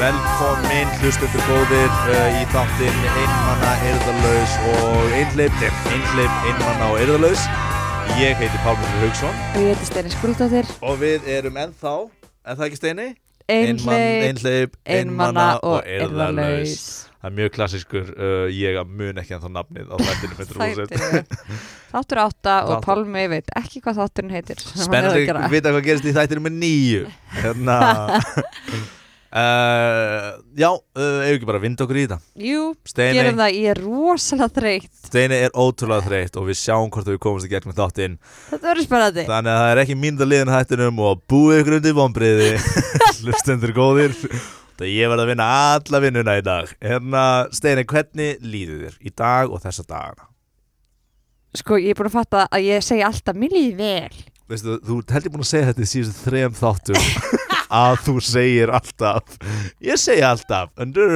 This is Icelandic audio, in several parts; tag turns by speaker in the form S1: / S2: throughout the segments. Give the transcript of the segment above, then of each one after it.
S1: Velkomin hlustundur góðir uh, í þáttinn Einmanna Eirðalaus og Einleip Einleip, Einmanna og Eirðalaus Ég heiti Pálmur Haugsson
S2: Og ég heiti Steini Skrúldóttir
S1: og við erum ennþá, en það ekki steini?
S2: Einhleyp,
S1: Einleip,
S2: einmana og eirðalaus
S1: Það er mjög klassískur, uh, ég mun ekki ennþá nafnið á þættinu fyrir húsið
S2: Þættir. Þáttur átta og
S1: Þáttur-
S2: Pálmi veit ekki hvað þátturinn heitir sem hann er að
S1: Spennandi
S2: gera.
S1: að vita hvað gerist í þættinu með nýju Hérna uh, Já, uh, eigum ekki bara að vinda okkur í þetta
S2: Jú,
S1: Steini,
S2: gerum það, ég er rosalega þreytt
S1: Steini er ótrúlega þreytt og við sjáum hvort við komumst í gegn með þáttinn
S2: Þetta verður spennandi
S1: Þannig að það er ekki mínda liðin hættinum og búið ykkur undir vonbriði Hlustendur góðir Það ég verð að vinna alla vinnuna í dag Hérna, Steini, hvernig líður þér í dag og þessa dagana?
S2: Sko, ég er búin að fatta að ég segi alltaf Mér líði vel
S1: Veistu, þú ert heldur búin að segja þetta í síðustu þrejum þáttum að þú segir alltaf ég segi alltaf undur,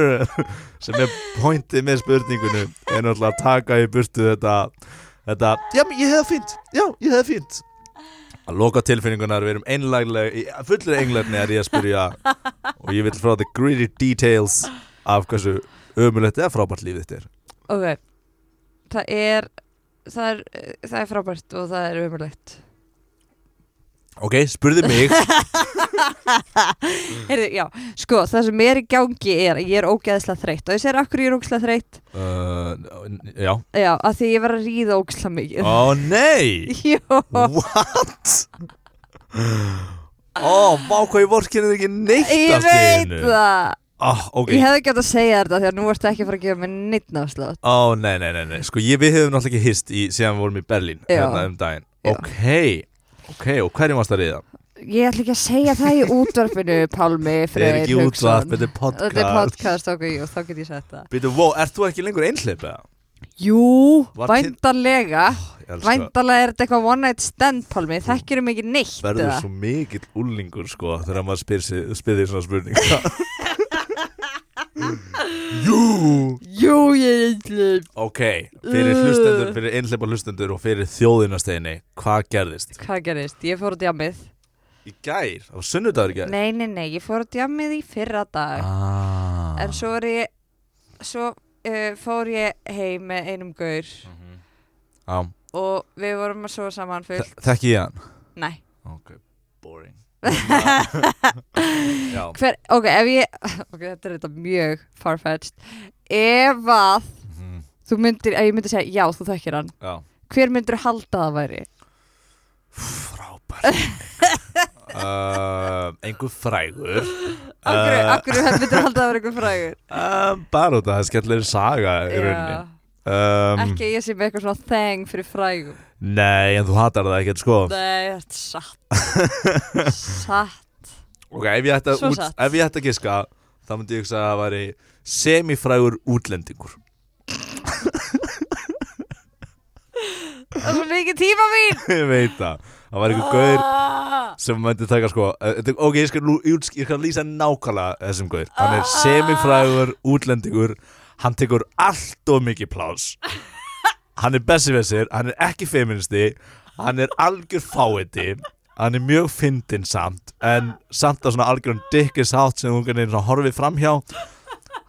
S1: sem er pointið með spurningunum er náttúrulega að taka í burtu þetta, þetta já, men ég hefði fínt, já, ég hefði fínt að loka tilfinningunar, við erum einlæglega fullir englarni er ég að spyrja og ég vil frá the greedy details af hversu ömulegt eða frábært lífið þetta er
S2: Ok, það er Það er, það er frábært og það er umurlegt
S1: ok, spurði mig
S2: Heyrðu, já, sko, það sem er í gangi er að ég er ógeðslega þreytt og ég segir akkur ég er ógeðslega þreytt
S1: uh, já,
S2: Já, að því ég var að ríða ógeðslega mikið
S1: ó nei
S2: Jó,
S1: What? Ó, vá hvað ég vorkinu ekki neitt
S2: ég
S1: allt í
S2: veit
S1: einu.
S2: það
S1: Ah, ok
S2: Ég hefði gett að segja þér þetta því að nú ertu ekki að fara að gefa mér neitt náðslátt.
S1: Ó, nei, nei, nei, nei Sko, ég, við hefum náttúrulega ekki hist í, síðan við vorum í Berlín
S2: Já.
S1: Hérna um daginn
S2: Já.
S1: Ok, ok, og hverjum varst að riða?
S2: Ég ætla ekki að segja það í útvarpinu, Pálmi,
S1: Þetta er
S2: Freyr,
S1: ekki útvarp, þetta er
S2: Þetta er
S1: podcast
S2: podcast, ok, jú, þá get ég sett það.
S1: Býtu, wow, ert þú ekki lengur einhleyp eða?
S2: Jú,
S1: Var til-
S2: væntanlega,
S1: Ég elska
S2: væntanlega er þetta eitthvað one night stand, Pálmi, þekkirum ekki neitt.
S1: Verður
S2: eða?
S1: svo mikill úlingur sko þegar maður spyr, sig- spyr því svona spurning Jú
S2: Jú, ég er einhleip.
S1: Ok, fyrir
S2: Uh.
S1: hlustendur, fyrir einhleipa hlustendur og fyrir þjóðinasteginni, hvað gerðist?
S2: Hvað gerist? Ég fór á djammið.
S1: Í gær, á sunnudagur í gær?
S2: Nei, nei, nei, ég fór á djammið í fyrra dag.
S1: Eh. Ah.
S2: En svo er ég, svo uh, fór ég heim með einum gaur
S1: Mm. Já,
S2: og við vorum að sofa saman
S1: þe-
S2: fullt.
S1: þekki ég hann?
S2: Nei.
S1: Ok, boring. Já,
S2: Hver, ok, ef ég ok, þetta er þetta mjög farfetched ef að
S1: mhm,
S2: þú myndir, ef ég myndi segja já, þú þekkir hann
S1: já,
S2: hver myndir halda að það væri?
S1: frábært. uh, einhver frægur.
S2: Akkur, uh,
S1: Uh,
S2: akkur myndir halda að það væri einhver frægur
S1: Um, bara út að það er skellir saga í rauninni.
S2: Já,
S1: Um,
S2: ekki að ég sé með eitthvað svona þeng fyrir frægum
S1: Nei, en þú hatar það ekkert sko.
S2: nei, þetta er satt satt
S1: Ok, ef ég ætti að,
S2: Svo
S1: út,
S2: satt.
S1: ef ég ætti að giska þá myndi ég hugsa að það væri semifrægur útlendingur
S2: það er svo mikið tíma mín
S1: Ég veit það Það væri einhver gaur sem myndi taka sko eh, þetta- Ok, ég skal, lú- ég skal, ég skal lýsa nákvæmlega þessum gaur Hann er semifrægur útlendingur Hann tekur allt of mikið plás Hann er besivessir Hann er ekki feministi Hann er algjör fáiði Hann er mjög fyndinn samt En samt að svona algjörum dikkis hátt sem hún kannin horfið framhjá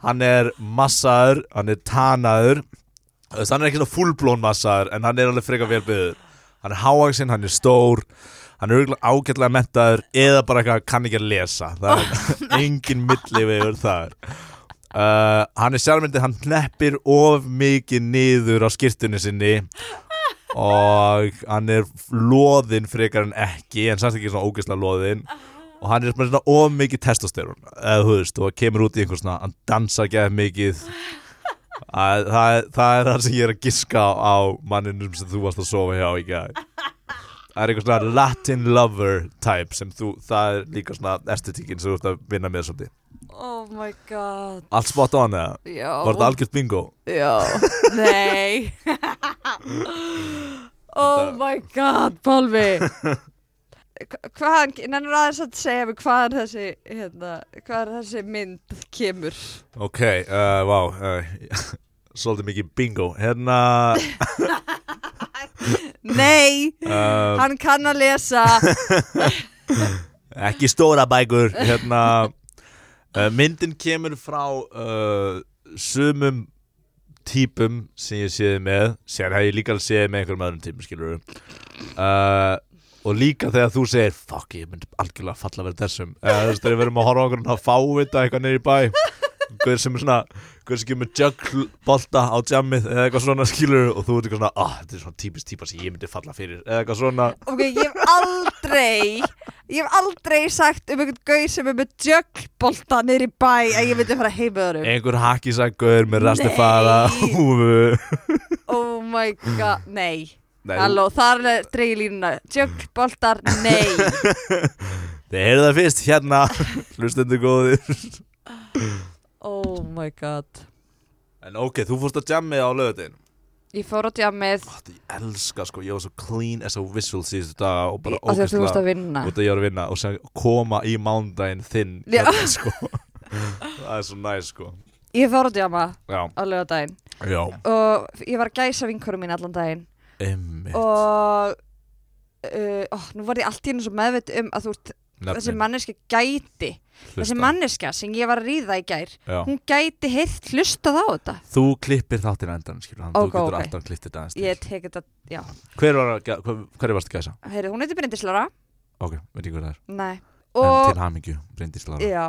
S1: Hann er massaður Hann er tanaður Þú veist, Hann er ekki svona fullblón massaður En hann er alveg frekar velbyður Hann er háaksinn, hann er stór Hann er örugglega ágætlega mentaður Eða bara eitthvað kann ekki að lesa Það er engin milli vegur þar Uh, hann er sjálfmyndið, hann hneppir of mikið niður á skirtunni sinni og hann er loðinn frekar en ekki en samt ekki svona ógeðslega loðinn og hann er bara svona of mikið testosterun eða þú veist, og kemur út í einhver svona hann dansar gæð mikið að, það, er- það er það sem ég er að giska á manninum sem þú varst að sofa hjá í gæð það er einhver svona Latin lover type sem þú, það er líka svona estetíkin sem þú ert að vinna með svolítið
S2: oh my god
S1: allt spot on eða?
S2: já,
S1: Var þetta algjört bingo?
S2: já, nei oh my god Pálmi Hva- hvaðan, nennir aðeins að segja mig hvaðan þessi, hérna, hvaðan þessi mynd kemur
S1: Ok, uh, vá uh, Svolítið mikið bingo Hérna
S2: nei,
S1: uh,
S2: hann kann að lesa
S1: Ekki stóra bækur Hérna uh, myndin kemur frá uh, sumum típum sem ég séði með sér hef ég líka alveg séði með einhverjum öðrum típum skilur uh, og líka þegar þú segir fuck ég myndi algjörlega falla verið þessum eða þú veist þegar við verum að horfa okkur að fávita eitthvað niður í bæ hver sem er svona hver sem kemur jökl bolta á jammið eða eitthvað svona skilur og þú ert eitthvað svona ah, þetta er svona típist típa sem ég myndi falla fyrir eða eitthvað svona
S2: Ok, ég hef aldrei Ég hef aldrei sagt um einhvern gauð sem er með jökbolta niður í bæ að ég myndi fara heim með honum
S1: einhver hakisakur með rastifara
S2: Nei.
S1: húfu
S2: Oh my god, nei
S1: Nei,
S2: Halló, þar dreigir línuna Jökboltar, nei
S1: Þið heyrðu það fyrst hérna Hlustendur góðir
S2: Oh my god
S1: En ok, þú fórst að jammið á löðin
S2: Ég fór á djamið
S1: Þetta ég elska sko, ég var svo clean as a whistle síðustu daga og bara
S2: af því að þú varst
S1: ógæstlega
S2: að vinna
S1: Út að ég var að vinna og sem koma í mándaginn þinn
S2: Já.
S1: hérna, sko. Það er svo næs sko
S2: Ég fór á djama
S1: Já,
S2: á lögadaginn
S1: já,
S2: og ég var að gæsa vinkurum mín allan daginn
S1: emmi
S2: og uh, ó, nú var ég allt í henni svo meðvitt um að þú ert þessi manneska gæti þessi manneska sem ég var að ríða í gær hún gæti heilt hlustað á þetta
S1: Þú klippir þáttinn á endan skilur hann
S2: Ok,
S1: Þú getur
S2: ok.
S1: alltaf klipptir þetta aðeins
S2: ég
S1: til.
S2: tek þetta, já
S1: Hver var að, ge- hver, hver varst að gæsa?
S2: Heyri, hún heitir Bryndís Lára
S1: Ok, veit ekki hvað það er
S2: Nei.
S1: En
S2: og,
S1: til hamingju, Bryndís Lára
S2: já,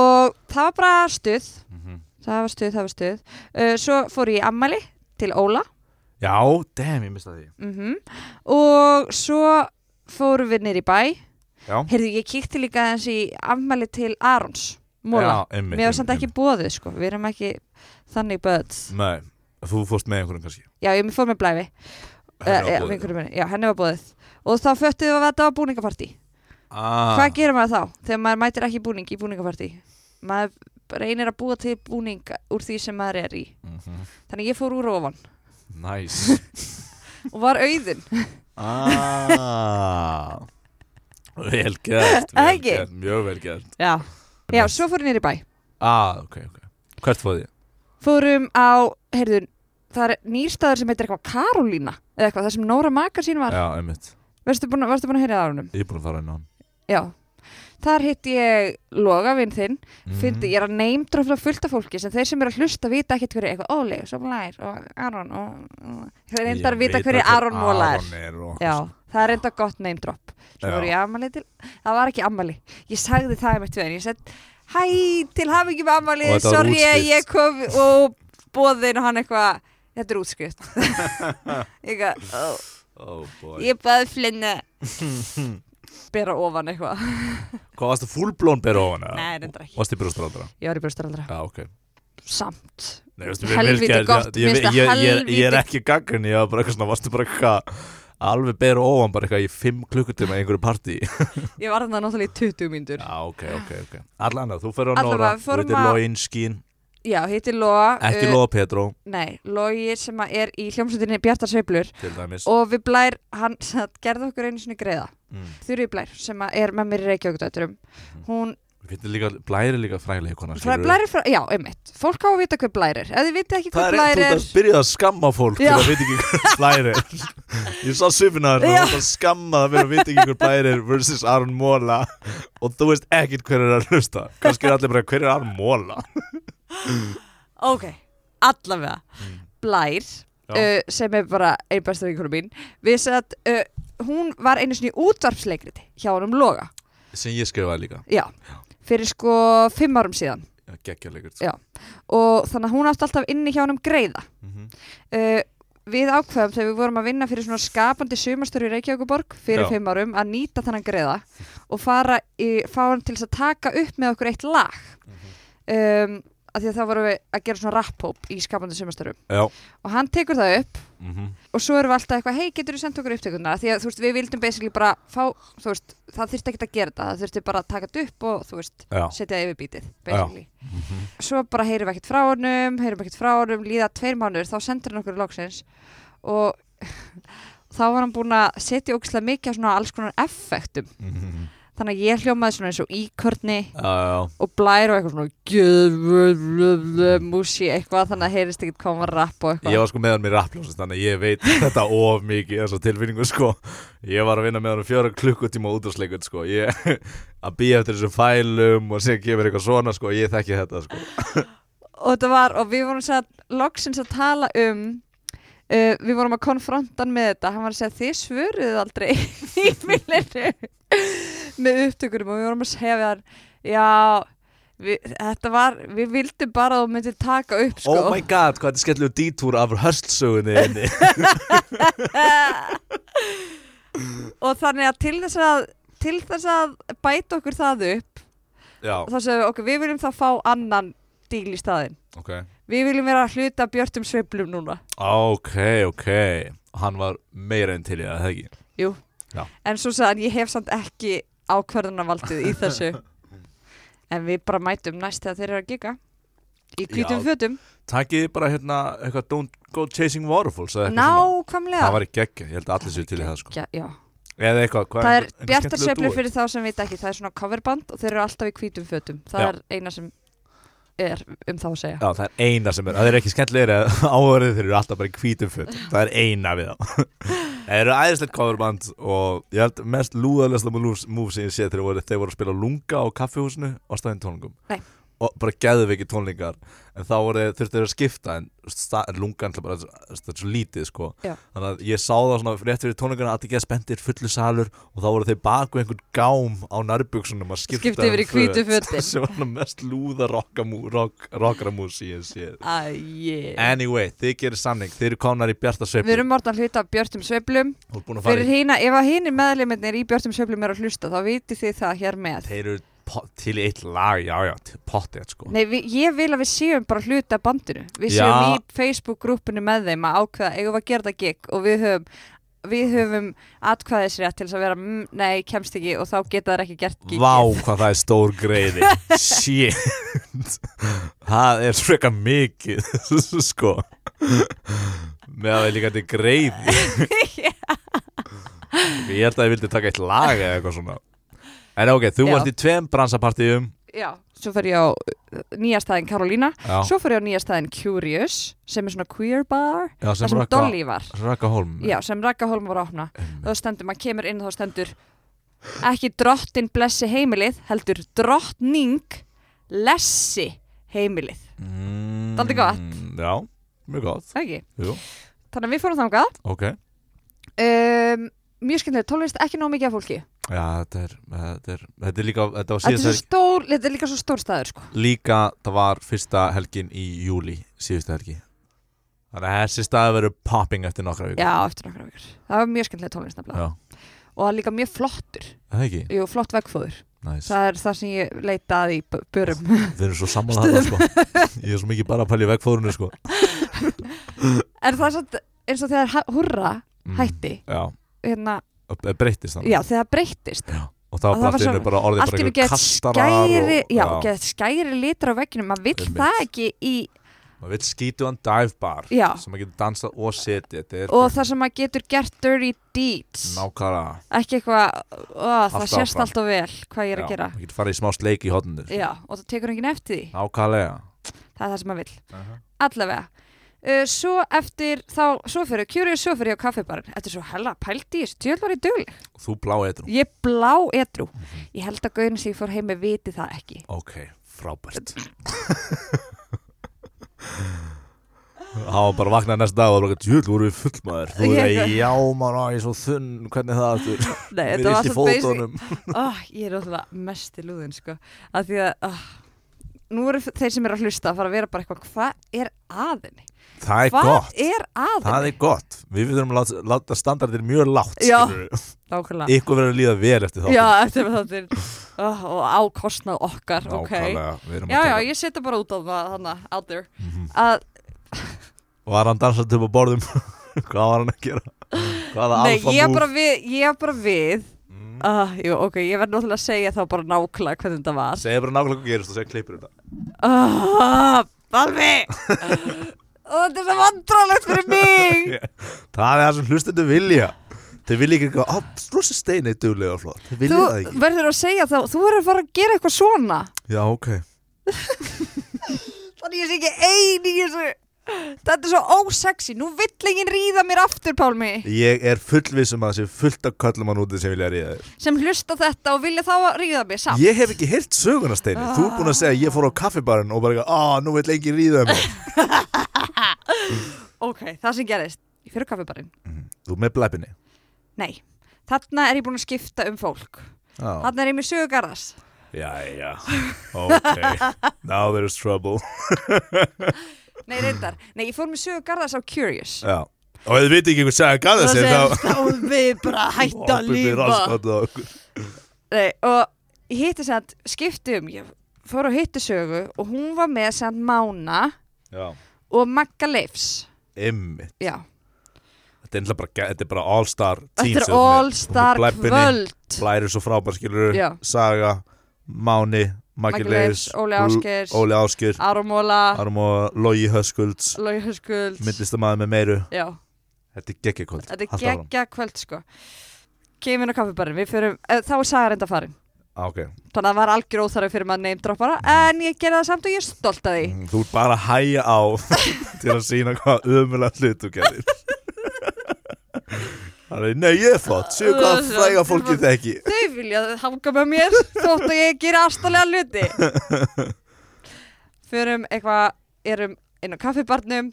S2: og það var bara stuð
S1: Mhm.
S2: það var stuð, það var stuð uh, svo fór ég í ammæli til Óla
S1: Já, damn, ég mista því
S2: mm og svo fórum við nýr í bæ
S1: Já.
S2: heyrðu, ég kíkti líka aðeins í ammæli til Arons Móla
S1: Já, einmitt,
S2: Mér var
S1: einmitt,
S2: samt ekki
S1: einmitt. Mm.
S2: bóðið sko, við erum ekki þannig böðs.
S1: Nei, þú fórst með einhverjum kannski
S2: Já, ég fór með blæfi,
S1: Henni var
S2: Eh, eh,
S1: boðið.
S2: vinkonum minni. já, henni var bóðið. Og þá föttuðum við að þetta var búningapartí.
S1: ah,
S2: Hvað gerir maður þá þegar maður mætir ekki í búning í búningapartí? Maður reynir að búa til búning úr því sem maður er í.
S1: Mhm.
S2: Þannig ég fór úr ofan
S1: Nice
S2: og var auðin.
S1: ah. Vel gert, vel
S2: Ekki?
S1: gert Mjög vel gert
S2: Já. Já, svo fór ég nýr í bæ.
S1: ah, okay, okay. Hvert fóði ég?
S2: Fórum á, heyrðu, það er nýrstaður sem heitir eitthvað Karolína eða eitthvað, það sem Nóra Maka sín var.
S1: Já, einmitt
S2: Varstu búin, varstu búin að heyra það á hennum?
S1: Ég er búin að fara inn á hann
S2: Já, þar hitti ég logavinn þinn,
S1: Mhm.
S2: fyndi, ég er að neymdröfla fullt af fólki sem þeir sem eru að hlusta vita ekkert hverju eitthvað Óli, Soflær og Aron og og- þeir reyndar að vita hverju Aron Móla er.
S1: Aron er og
S2: Já, það er reyndar gott neymdrop. Svo
S1: Sko. Já.
S2: voru ég ammali til, það var ekki ammali, ég sagði það einmitt við henni, ég sett hæ til hafa ekki með
S1: Og
S2: ammali,
S1: þetta var
S2: sorry að
S1: útskrift.
S2: ég kom og bóðin og hann eitthvað, þetta er útskrift. ég eitthvað, "Ó,
S1: oh, boy.
S2: ég baði flinni bera ofan eitthvað.
S1: Hvað varstu fullblón bera ofan? eða?
S2: Nei, reyndar ekki.
S1: Varstu í brjóstraldra?
S2: Ég var í brjóstaraldra.
S1: Já, ok
S2: Samt.
S1: Nei, veistu,
S2: Helvíti
S1: virkar-
S2: gott,
S1: ég,
S2: mér
S1: ég,
S2: finnst það
S1: ég, ég, ég er
S2: helvíti-
S1: ekki gaggan Ég var bara eitthvað svona, varstu bara eitthvað Alveg bera ofan, bara eitthvað í fimm klukkutíma í einhverju partí
S2: Ég var þarna náttúrulega í 20 mínútur.
S1: Já, ok, ok, ok Alla annað, þú fyrir á
S2: Alla
S1: Nóra,
S2: vega, við
S1: þú
S2: fórum
S1: veitir
S2: að-
S1: Lóinskín
S2: Já, hitti Lóa.
S1: Ekki
S2: uh,
S1: Lóa Petró,
S2: Nei, Lói sem að er í hljómsveitinni Bjartar Sveiflur
S1: til dæmis
S2: og við blær, hann satt, gerði okkur einu sinni greiða.
S1: mm.
S2: Þurri blær sem að er með mér í Reykjavíkdötturum. Hún,
S1: Við finnum líka, blæri er líka fræðilega kona
S2: frá,
S1: skilurðu.
S2: blær er frá, já, einmitt. Fólk á að vita hver blær er. Ef þið viti ekki hver
S1: Það er,
S2: blær
S1: þú
S2: er,
S1: ert að byrja að skamma fólk
S2: Já.
S1: til að vita ekki hver blæri er Ég sá svifinar, þú
S2: Já.
S1: ert að skamma það fyrir að vita ekki hver blæri er versus Aron Móla og þú veist ekkit hver er að hlusta Kannski er allir bara, hver er Aron Móla?
S2: ok, allavega. Blær,
S1: Mm. Já.
S2: uh, sem er bara einn besta vinkunum mín. Við satt, uh, hún var einu sinni í útvarpsleikriti hjá honum Lóga.
S1: Sem ég skrifaði líka,
S2: Já, fyrir sko fimm árum síðan
S1: geggjalegur
S2: Já. og þannig að hún átti alltaf inni hjá hann um greiða.
S1: mm -hmm.
S2: Uh, við ákveðum þegar við vorum að vinna fyrir svona skapandi sumastöru í Reykjavíkuborg fyrir
S1: Já.
S2: fimm árum að nýta þannan greiða og fara í, fá hann til þess að taka upp með okkur eitt lag. um, af því að þá vorum við að gera svona rapphóp í skapandi sumastöru
S1: Já,
S2: og hann tekur það upp
S1: mm
S2: og svo erum við alltaf eitthvað, hei, getur þú sendt okkur upptökuna því að þú veist, við vildum basically bara fá þú veist, það þurfti ekki að gera þetta, það þurfti bara að taka þetta upp og þú veist,
S1: Já.
S2: setja yfir bítið basically. Svo bara heyrum við ekkert frá honum heyrum við ekkert frá honum, líða tveir mánuður þá sendur hann okkur loksins og þá var hann búinn að setja ógislega mikið á svona alls konar effektum
S1: Mhm.
S2: þannig að ég hljómaði svona eins og íkörni
S1: já, já,
S2: og blær og eitthvað svona gjöðvöðvöðvöð músi eitthvað þannig að heyrist ekkert hvað hann var að rappa og eitthvað
S1: Ég var sko með hann í rappljósast þannig að ég veit þetta of mikið þessa tilfinningu sko Ég var að vinna með hann um fjóra klukkutíma útásleikun sko ég, að býja eftir þessum fælum og sér kemur eitthvað svona sko ég þekki þetta sko
S2: og þetta var, og við vorum að loksins að tala um uh, við vorum að konfronta hann með þetta hann var að segja þið svöruðu aldrei í millinu með upptökurum og við vorum að segja við hann já, við, þetta var við vildum bara að þú myndir taka upp sko.
S1: Oh my god, hvað þetta skellur dítúr af hörslsögunni inni
S2: og þannig að til þess að til þess að bæta okkur það upp
S1: Já,
S2: þá segum við okkur, við viljum þá fá annan díl í staðinn
S1: ok
S2: við viljum vera að hluta björtum sveiflum núna
S1: Ok, ok Hann var meira enn til ég að það ekki
S2: Jú.
S1: Já.
S2: en svo sagðan ég hef samt ekki ákvörðunarvaldið í þessu en við bara mætum næst þegar þeir eru að gika í hvítum
S1: Já,
S2: fötum
S1: Takið bara hérna eitthvað Don't go chasing waterfalls eða eitthvað svona. Það
S2: nákvæmlega
S1: var í geggja, ég held að allir séu til í það sko
S2: Já, já.
S1: Eða eitthvað, hvað
S2: það er
S1: einhver- einhver
S2: bjartar
S1: skemmtilegur
S2: sveiflur
S1: dúo?
S2: fyrir þá sem veit ekki það er svona coverband og þeir eru alltaf í hvítum fötum það
S1: Já.
S2: er eina sem er um þá að segja
S1: Já, það er eina sem er, það er ekki skemmtilegri að áhverðið þeir eru alltaf bara í hvítum föt það er eina við þá það eru æðislegt coverband og ég held mest lúðalegsta moves moves sem ég sé þeir voru, þeir voru að spila lunga á kaffihúsinu á staðin tónlingum
S2: Nei.
S1: og bara gæðu ekki tónlingar en þá voru, þurftu þeir að skipta en, sta- en lungan er bara þetta er svo lítið sko.
S2: Já.
S1: þannig að ég sá það svona rétt fyrir tónlingarna allir geða spendir fullu salur og þá voru þeir baku einhvern gám á nærbuksunum að skipta
S2: Skipta yfir í
S1: um
S2: hvítu
S1: föt.
S2: fötin.
S1: sem var svona mest lúða rockamú- rock- rockaramús sem ég sé
S2: Æ, yeah.
S1: Anyway, þið gerir samning, þið eru konar í bjarta sveiflu
S2: við erum orðin að hluta björtum sveiflum
S1: Þú ert búin að fara
S2: fyrir
S1: í
S2: hína, ef að hínir meðleiminnir í björtum sveiflum er að hlusta þá viti þið það hér með
S1: Þeir eru po- til í eitt lag, já já, til- pottþétt sko
S2: Nei, vi, ég vil að við séum bara hluti af bandinu Við
S1: Já.
S2: séum í Facebook-grúpunni með þeim að ákveða, eigum við að gera það gig og við höfum, við höfum atkvæðisrétt til þess að vera, mm, nei, kemst ekki og þá geta þær ekki gert gig
S1: Vá, hvað það er stór greiði Shit Það er freka mikið sko með að við líka til greiði Ég held að ég vildi taka eitt lag eða eitthvað svona En ok, þú
S2: Já.
S1: varst í tveim bransapartíum
S2: Já, svo fer ég á nýjastæðin Karolína
S1: Já,
S2: Svo fer ég á nýjastæðin Curious sem er svona queer bar
S1: já
S2: Það
S1: sem
S2: sem
S1: Raka,
S2: Dolly var
S1: Raka Holm
S2: Já, sem Raka Holm var að opna þá stendur, maður kemur inn og þá stendur ekki drottin blessi heimilið heldur drottning lessi heimilið
S1: mm,
S2: Dálítið gott.
S1: Já, mjög gott,
S2: Það ekki?
S1: jú,
S2: Þannig að við fórum þangað
S1: ok
S2: um, Mjög skemmtilegt, tónlist ekki nóg mikið af fólki
S1: Já, þetta er, þetta er, þetta er líka, þetta var
S2: Þetta er,
S1: síðasta
S2: svo
S1: helgin,
S2: stór, þetta er líka svo stór staður sko.
S1: líka, það var fyrsta helgin í júli, síðustu helgi. Þannig að þessi staði verður popping eftir nokkra vikur.
S2: Já, eftir nokkra vikur Það var mjög skemmtilegt tónlist nefnilega Og það er líka mjög flottur
S1: Það ekki?
S2: Jú, flott vegfóður
S1: Næs.
S2: Það er það sem ég leitaði í b- börum
S1: Þeir eru svo saman að það, sko. Ég er svo mikið bara að pælja í vegfóðurinu, sko.
S2: En það er satt eins og þegar ha- hurra hætti
S1: Já,
S2: hérna,
S1: og- eh, breyttist Mm. þannig.
S2: Já, þegar það breyttist
S1: Og það
S2: og það
S1: var
S2: var
S1: bara allt í
S2: svo-
S1: einu bara orðið
S2: Allt
S1: bara
S2: í nú
S1: einhverjir
S2: gett skæri
S1: og-
S2: Já, gett skæri litur á vegginu Maður vill
S1: Einmitt.
S2: það ekki í
S1: Maður vil skítu hann dive bar,
S2: Já.
S1: sem maður getur dansað og setið. Þetta er
S2: Og það sem maður getur gert dirty deeds
S1: nákvæmlega.
S2: Ekki eitthvað ó, Það
S1: Haltu
S2: sést
S1: áfram.
S2: alltaf vel hvað ég er að
S1: Já,
S2: gera
S1: maður getur farið í smá sleik í hodninu.
S2: Já, og það tekur enginn eftir því.
S1: Nákvæmlega.
S2: Það er það sem maður vill.
S1: Aha.
S2: Allavega. Uh, svo eftir þá, svo fyrir, Curious svo fyrir ég á kaffibarinn. Þetta er svo hella pældi í þessu, djöl var ég dögleg.
S1: Þú blá eitrú.
S2: Ég blá edru. Ég held að gauðin sem ég fór heim með viti það ekki.
S1: Ok, frábært Það var bara vaknaði næsta dag og það var bara djúl, voru við fullmaður Þú veist
S2: Ég-
S1: að já maður á ég er svo þunn, hvernig er það aftur
S2: Nei,
S1: Mér
S2: þetta
S1: er
S2: var
S1: illt í
S2: svo basic.
S1: fótunum
S2: Oh, ég er ótrúlega mest í lúðin, sko. Af því að, oh, nú eru f- þeir sem eru að hlusta að fara að vera bara eitthvað, hvað er aðinni?
S1: Það er
S2: Hvað
S1: gott,
S2: er
S1: það
S2: aðinni?
S1: er gott Við þurfum að láta, láta standardir mjög lágt
S2: Já.
S1: skilurðu.
S2: Nákvæmlega.
S1: Ykkur verður að líða vel eftir þá
S2: Já, eftir þáttir. Oh, og ákostnað okkar, ok.
S1: Nákvæmlega, við erum
S2: Já,
S1: að
S2: já,
S1: taka-
S2: ég setja bara út á það hana, out there
S1: Mhm.
S2: að,
S1: Og var hann dansandi upp á borðum Hvað var hann að gera? Hvaða
S2: Nei,
S1: alfa
S2: ég er
S1: múf
S2: bara við, ég er bara við
S1: Mm.
S2: uh, Jú, ok, ég verð náttúrulega að segja þá bara nákvæmlega hvernig þetta var
S1: Segðu bara nákvæmlega hvað gerist og segja klippur þetta
S2: uh, Balvi Og þetta er svo vandralegt fyrir mig
S1: Það er það sem hlustandi vilja Þeir vilja ekki eitthvað, á, rosa steini duglega og flott Þeir vilja
S2: Þú
S1: það ekki
S2: verður að segja þá, þú verður að fara að gera eitthvað svona
S1: Já, ok
S2: Þannig ég sé ekki ein í þessu Þetta er svo ósexy, nú vill enginn ríða mér aftur, Pálmi
S1: Ég er fullvissum að það sé fullt af köllum hann úti sem vilja ríða þér
S2: sem hlusta þetta og vilja þá að ríða mig samt
S1: Ég hef ekki heyrt söguna steini Þú er búin að segja að ég fór á kaffibarinn og bara eitthvað, á, nú vil engin ríða mig
S2: Ok, það sem gerist, ég fyrir kaffibarinn
S1: Þú með blæpinni
S2: Nei, þarna er ég búin að skipta um fólk
S1: Já,
S2: Þarna er ég með sögugarðas
S1: já, já Ok, now there's trouble
S2: Nei, reyndar, nei, ég fór með sögugarðas á Curious
S1: Já Og ef þið viti ekki hvað sagði gæða
S2: Það
S1: sér
S2: sem
S1: þá
S2: þá við bara hætta
S1: hoppið
S2: að
S1: þið
S2: lífa
S1: rassgat á okkur.
S2: Nei, og ég hitti samt skipti um, ég fór og hitti sögu og hún var með samt Mána
S1: Já,
S2: og Magga Leifs
S1: ymmi
S2: Já,
S1: Þetta er, náttúrulega bara, þetta er bara all star team sem
S2: þetta er
S1: þú ert með.
S2: all
S1: Þú
S2: star
S1: ert með Bleppinni,
S2: kvöld
S1: Blær er svo frábær skilur
S2: Já.
S1: Saga, Máni, Maggi
S2: Maggi
S1: Leifs
S2: Leifs, Óli Ah.
S1: L-
S2: Ásgeirs.
S1: Óli Áskir
S2: Árumóla,
S1: Arum og Logi Höskulds
S2: Lóihöskuld
S1: Myndlistamæði með meiru
S2: Já,
S1: Þetta er geggjakvöld
S2: Þetta er
S1: Haltu áfram.
S2: geggja kvöld sko Kemur inn á kaffibarinn, við fyrir Þá er saga reynda farin
S1: ah, okay.
S2: Þannig að það var algjör óþarfi fyrir maður name droppara En ég gerði það samt og ég er stolt að því
S1: Mm, Þú ert bara að hæja á Til að sína hvað ömulega hlut þú gerir Það er, nei ég er flott Sjöu hvað
S2: Þú-
S1: fræga fólkið þekki
S2: Þau vilja hanga með mér Þótt að ég gera astalega hluti Förum eitthvað Erum inn á kaffibarnum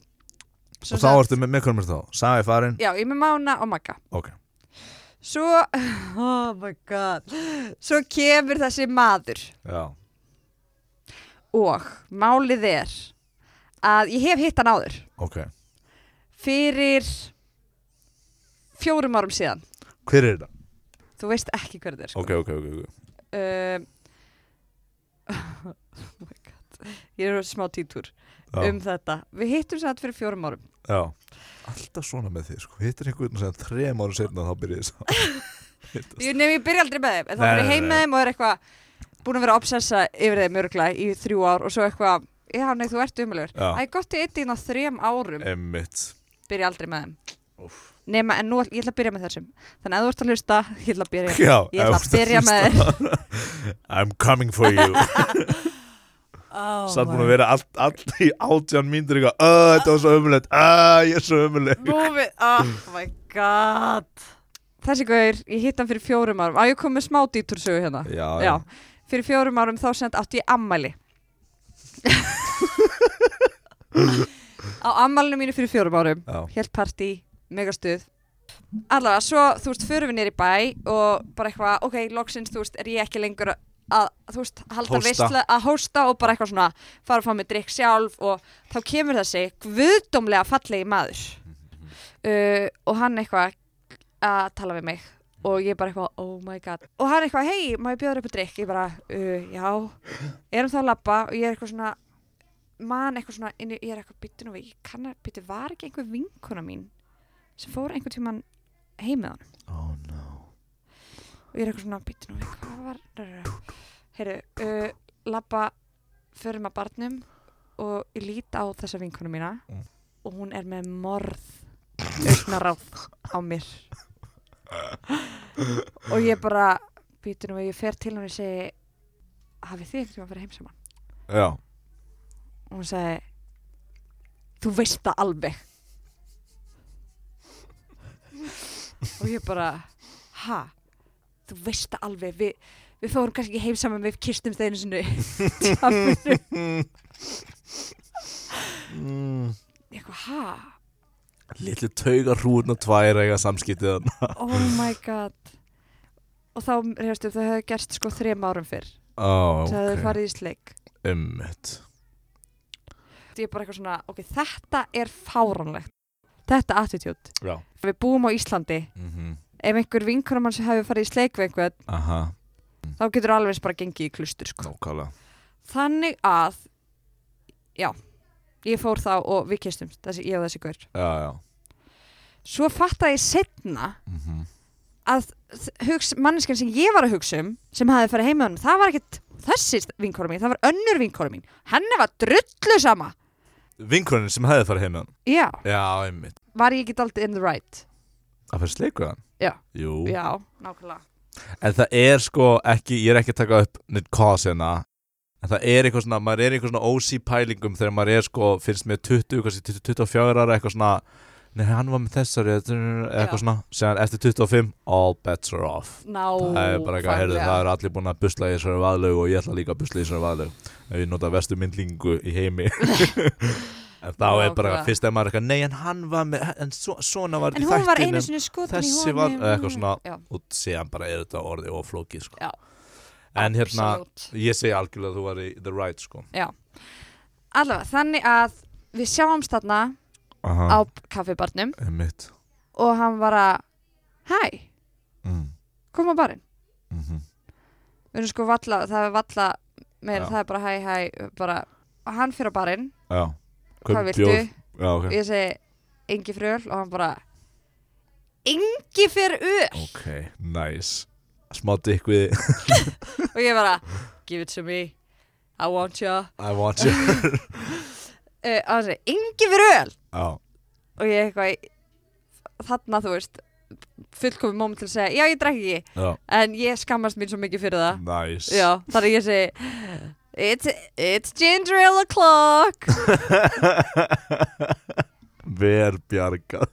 S1: Og þá ertu með, með hvernig er þá? Saga er farin?
S2: Já, ég er með Mána og Magga
S1: Ok
S2: Svo Oh my god Svo kemur þessi maður
S1: Já,
S2: Og málið er Að ég hef hitt hann áður
S1: ok
S2: fyrir fjórum árum síðan
S1: Hver er þetta?
S2: þú veist ekki hver þetta er sko.
S1: Ok, ok, ok, ok
S2: um, oh my god ég er á smá títúr
S1: Já,
S2: um þetta við hittum satt fyrir fjórum árum
S1: já. Alltaf svona með þig, sko Hittir einhvern sem þrem árum setna þá byrja þess að hittast.
S2: ég, nefn, ég byrja aldrei með þeim en
S1: Nei,
S2: það fyrir
S1: nei,
S2: heim
S1: nei.
S2: með þeim og er eitthvað búin að vera að obsessa yfir þeim örgulega í þrjú ár og svo eitthvað já nei þú ert umlegur
S1: Já. Eh.
S2: það er gott ég eitt inn á þrem árum
S1: Emmitt
S2: byrja aldrei með þeim nema en nú ætl- ég ætla að byrja með þessum þannig að ef þú ert að hlusta ég ætla að byrja
S1: Já,
S2: ég ætla að byrja með þeim
S1: I'm coming for you
S2: oh
S1: Satt búin að vera allt, allt í átján mínútur eitthvað, "Ö, Þetta var svo ömulegt Æ, ég er svo ömuleg
S2: Movie, oh my god Þessi gaur, ég hitt hann fyrir fjórum árum Á, ég kom með smá dýtursögu hérna
S1: Já,
S2: Já, fyrir fjórum árum þá sent átti ég ammæli Á ammælinu mínu fyrir fjórum árum
S1: já.
S2: Helt partí, megastuð Allavega, svo, þú veist, förum við nýri bæ og bara eitthvað, ok, loksins, þú veist, er ég ekki lengur að, þú veist, halda
S1: Hósta.
S2: veistla að hósta og bara eitthvað svona fara að fá mig drikk sjálf og þá kemur þessi guðdómlega fallegi maður uh, og hann eitthvað að tala við mig og ég bara eitthvað, oh my god og hann eitthvað, hei, má ég bjóður upp að drikk ég bara, uh, já, erum þá að labba og ég er eitthvað svona man eitthvað svona, inni, ég er eitthvað byttu nú við ég kann að, byttu, var ekki einhver vinkona mín sem fór einhvern tímann heim með hann
S1: Oh no
S2: og ég er eitthvað svona, byttu nú við hvað var, heyrðu uh, labba, förum að barnum og ég lít á þessa vinkona mína
S1: Mm.
S2: og hún er með morð augnaráð á mér og ég bara býtu nú, ég fer til hann og ég segi hafið þið einhvern tímann farið heim saman
S1: Já,
S2: og hún sagði þú veist það alveg og ég bara ha, þú veist það alveg við, við fórum kannski ekki heim saman við kistum það einu sinni Tjafinu.
S1: Mm.
S2: ég eitthvað ha
S1: litlu taugar hrúðna tvær eiga samskiptið hann
S2: oh my god og þá reyðast upp það hefði gerst sko þrem árum fyrr
S1: Ó,
S2: það hefði
S1: ok,
S2: farið í sleik
S1: emmitt
S2: ég er bara eitthvað svona, ok, þetta er fáránlegt þetta attitude
S1: Já
S2: við búum á Íslandi
S1: Mhm.
S2: ef einhver vinkunum hans hefur farið í sleik við einhvern,
S1: Aha,
S2: þá getur alveg eins bara gengið í klustur sko.
S1: nákvæmlega
S2: Þannig að já, ég fór þá og við kistumst, þessi, ég og þessi gaur.
S1: Já, já
S2: Svo fattaði ég setna
S1: Mhm.
S2: að hugs, manneskinn sem ég var að hugsa um sem hafi farið heim með honum, það var ekkit þessi vinkunum mín, það var önnur vinkunum mín henni var drullu sama
S1: Vinkonin sem hefði farið heim með hann
S2: Já,
S1: Já, einmitt
S2: var ég ekki alltaf in the right
S1: að fyrir sleiku hann
S2: Já.
S1: Jú.
S2: Já, nákvæmlega
S1: en það er sko ekki, ég er ekki að taka upp neitt cause hérna en það er eitthvað svona, maður er í eitthvað svona OC pælingum þegar maður er sko, finnst mér 20, kannski 20, 24 ára eitthvað svona Nei, hann var með þessari, eða eitthvað
S2: Já.
S1: svona Síðan eftir 25, all bets are off Það er bara eitthvað, heyrðu,
S2: Nákvæmlega
S1: það eru allir búin að busla í þessari vaðlögu og ég ætla líka að busla í þessari vaðlögu ef ég nota vestu myndlingu í heimi en þá er bara
S2: Nákvæmlega.
S1: fyrst ef maður er eitthvað, nei en hann var með en svo, svona var
S2: En
S1: í
S2: hún var
S1: þættinum
S2: einu sinni skotin í
S1: þessi
S2: honum
S1: var- eða eitthvað svona.
S2: Já,
S1: og síðan bara er þetta orðið og flókið sko.
S2: Já.
S1: en hérna,
S2: absolutt.
S1: ég segi algjörlega að þú var í the right sko
S2: Allavega, þannig að við sjáumst þarna á
S1: Aha,
S2: kaffibarnum
S1: einmitt
S2: og hann var að Hæ,
S1: mm,
S2: kom á barinn
S1: mm -hmm.
S2: Við erum sko valla, það er valla meira,
S1: Já.
S2: það er bara hæ, hæ, bara og hann fyrir á barinn,
S1: Já,
S2: hvað
S1: Kaupir
S2: viltu?
S1: bjór. Já, ok,
S2: Og ég segi, engi fröl og hann bara Engi fyrir öl
S1: ok, nice smá dykk við
S2: og ég bara, give it to me I want you uh,
S1: I want you
S2: og hann segi, engi fyrir öl
S1: Já,
S2: og ég eitthvað þarna þú veist fullkomum moment til að segja, já ég drekki ekki
S1: já,
S2: en ég skammast mín svo mikið fyrir það
S1: nice
S2: Ah. já, þannig að ég segi it's, it's ginger ale o'clock
S1: Ver bjargað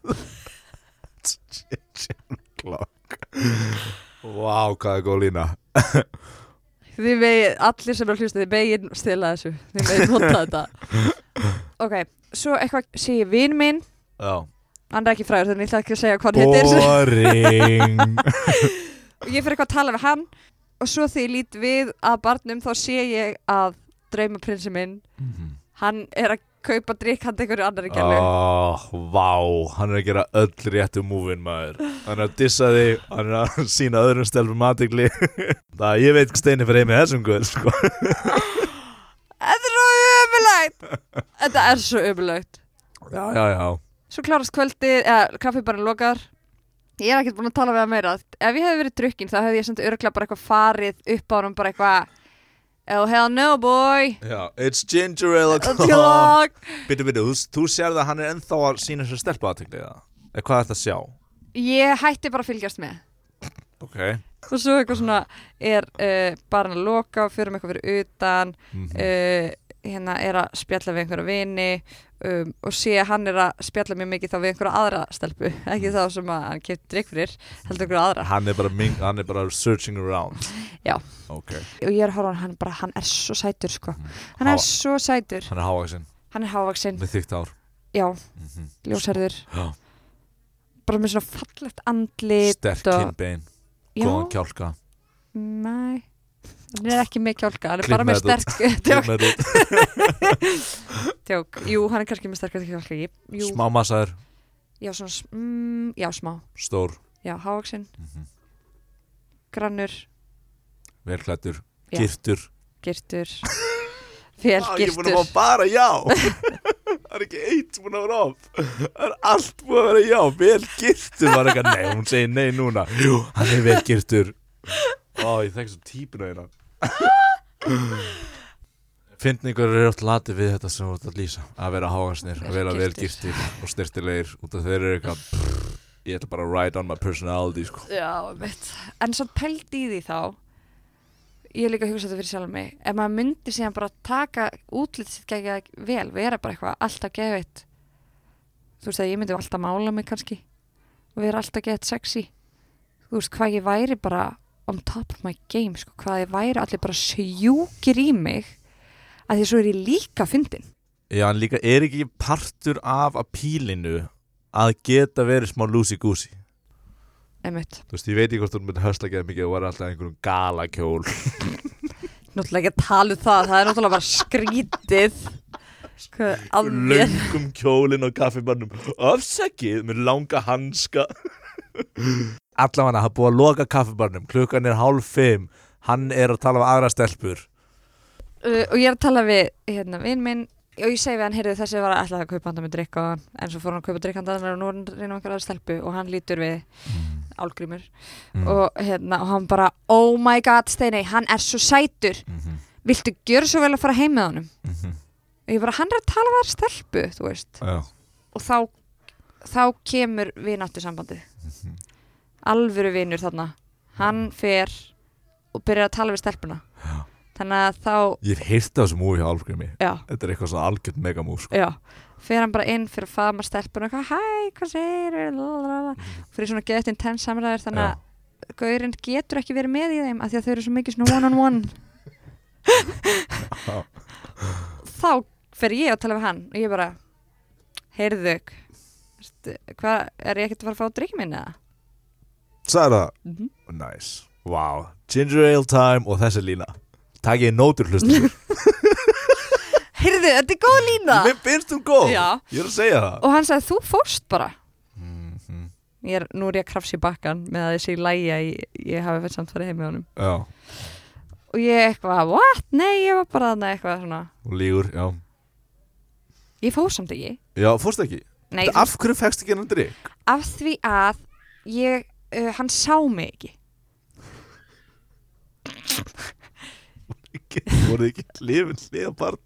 S1: Klokk Vá, hvað er góð lína
S2: þið megið, allir sem er að hlusta þið megið stila þessu, þið megið nota þetta ok, svo eitthvað sé ég vin minn,
S1: Já
S2: hann er ekki fræður þannig ég ætla ekki að segja hvað hann heitir
S1: Boring
S2: og ég fyrir eitthvað að tala við hann og svo þegar ég lít við að barnum þá sé ég að draumaprinsi minn hann er að kaupa drikk handa einhverju annari gælu
S1: oh, Vá, hann er að gera öll réttu múvin maður Hann er að dissa þig Hann er að sína öðrum stelfum aðtegli Það að ég veit hvað steini fyrir heimi þessum guð sko.
S2: Þetta er svo ömulegt Þetta er svo ömulegt
S1: Já, já, já
S2: Svo klarast kvöldi, eða kaffibarinn lokar Ég er ekkert búin að tala við það meira Ef ég hefði verið drukkin þá hefði ég samt örglega bara eitthvað farið upp á hann bara eitthvað Oh hell no boy
S1: Já, it's ginger ale o'clock
S2: Tjók
S1: Bittu, bittu, þú, þú sér það að hann er ennþá að sína sér stelpu aðtegli Eða hvað er þetta að sjá?
S2: Ég hætti bara að fylgjast með
S1: Ok
S2: Og svo eitthvað svona er uh, barinn að loka og fyrir með eitthvað fyrir utan
S1: mm
S2: uh, hérna er að spjalla við einhverja vini um, og sé að hann er að spjalla mjög mikið þá við einhverja aðra stelpu ekki þá sem að hann kefti drikk fyrir heldur einhverja aðra
S1: Hann er bara, ming, hann er bara searching around
S2: Já.
S1: Ok
S2: og ég er að horfa á hann, hann bara, hann er svo sætur sko hann
S1: Mm. Há-
S2: er svo sætur,
S1: Hann er hávaksinn
S2: hann er hávaksinn
S1: með þygt ár
S2: já,
S1: mm
S2: ljósherður
S1: Já.
S2: bara með svona fallegt andlit
S1: Sterk
S2: og-
S1: kinnbein,
S2: já,
S1: góðan kjálka
S2: næ hann er ekki með kjálka, hann er
S1: Klipp
S2: bara
S1: með
S2: með
S1: þetta
S2: sterk tjók,
S1: Klippnað út,
S2: tjók, jú, hann er kannski með sterkast kjálka ég- jú,
S1: smá massaður,
S2: já, svona, s- mm, já, smá
S1: stór
S2: já, hávaksinn,
S1: mm -hmm.
S2: grannur
S1: Velklættur,
S2: Já.
S1: girtur
S2: girtur vel girtur
S1: bara já Það er ekki eitt búin að vera of Það er allt búin að vera já Vel girtur var eitthvað, nei, hún segir nei núna Jú, hann er vel girtur Ó, ég þekki svo típina hérna Fyndningur eru oft latið við þetta sem þú ert að lýsa Að vera háhansnir, að vera vel
S2: Velgirtir.
S1: girtir og styrtilegir Út af þeir eru eitthvað prr, Ég ætla bara að ride on my personality sko.
S2: já, veit en svo pælt í því þá ég er líka að hugsa þetta fyrir sjálf mig ef maður myndi síðan bara taka útlitið sitt gegja vel, vera bara eitthvað alltaf geðveitt þú veist að ég myndi alltaf mála mig kannski og vera alltaf geðveitt sexy þú veist hvað ég væri bara on top of my game, sko, hvað ég væri allir bara sjúkir í mig að því svo er ég líka fyndin
S1: Já, en líka er ekki partur af að pílinu Að geta verið smá loosey-goosey
S2: einmitt,
S1: Þú veist, ég veit ekki hvort hún myndi hösla ekki mikið og var alltaf í einhverjum galakjól
S2: náttúrulega ekki að tala um það það er náttúrulega bara skrítið hvað að mér
S1: Löngum kjólinn og kaffibannum Afsakið með langa hanska Allavega, það er búið að loka kaffibannum Klukkan er hálf fimm Hann er að tala um aðra stelpur
S2: uh, og ég er að tala við hérna vinn minn og ég segi við hann, heyrðu þessi var að ætla að kaupa handa með drikk og hann, en svo fór hann að kaupa drikk handa og nú er hann reynum einhverja stelpu og hann lítur við álgrímur og hérna, og hann bara, oh my god Steinei, hann er svo sætur viltu gjöra svo vel að fara heim með honum og ég bara, hann er að tala við þar stelpu, þú veist
S1: Já,
S2: og þá þá kemur vináttu sambandið alvöru vinur þarna hann fer og byrjar að tala við stelpuna
S1: Já.
S2: þannig að þá,
S1: Ég hef heyrt af þessu múi hjá Álfgrími
S2: já,
S1: Þetta er eitthvað svona algjörn megamú sko.
S2: já fer hann bara inn fyrir að faðma stelpuna eitthvað, hæ, hvað segir fyrir svona gett intens samræður þannig
S1: Mm. Já.
S2: að gaurinn getur ekki verið með í þeim af því að þau eru svo mikið svona one on one
S1: Já.
S2: þá fer ég að tala við hann og ég bara heyrðu veistu, hvað, er ég ekkert að fara að fá að drikja minna eða?
S1: Særa það
S2: Mm
S1: Nice. Wow. Ginger ale time og þessi lína. Takk ég nótur hlustur.
S2: heyrðu, þetta er góð lína
S1: Mér finnst þú góð.
S2: Já.
S1: Ég er að segja það.
S2: og hann sagði, þú fórst bara
S1: Mm -hmm.
S2: ég er, nú er ég að krafsa í bakkan með að þessi lægja ég, ég hafi fætt samt farið heim með honum
S1: Já.
S2: og ég eitthvað, what? Nei, ég var bara þarna eitthvað svona
S1: Hún lígur, já.
S2: ég fór samt ekki
S1: Já, fórst ekki.
S2: Nei, af...
S1: Af hverju fegst ekki hennan drikk?
S2: því að ég, uh, hann sá mig ekki
S1: Voruð þið ekki lifin hliðabarn?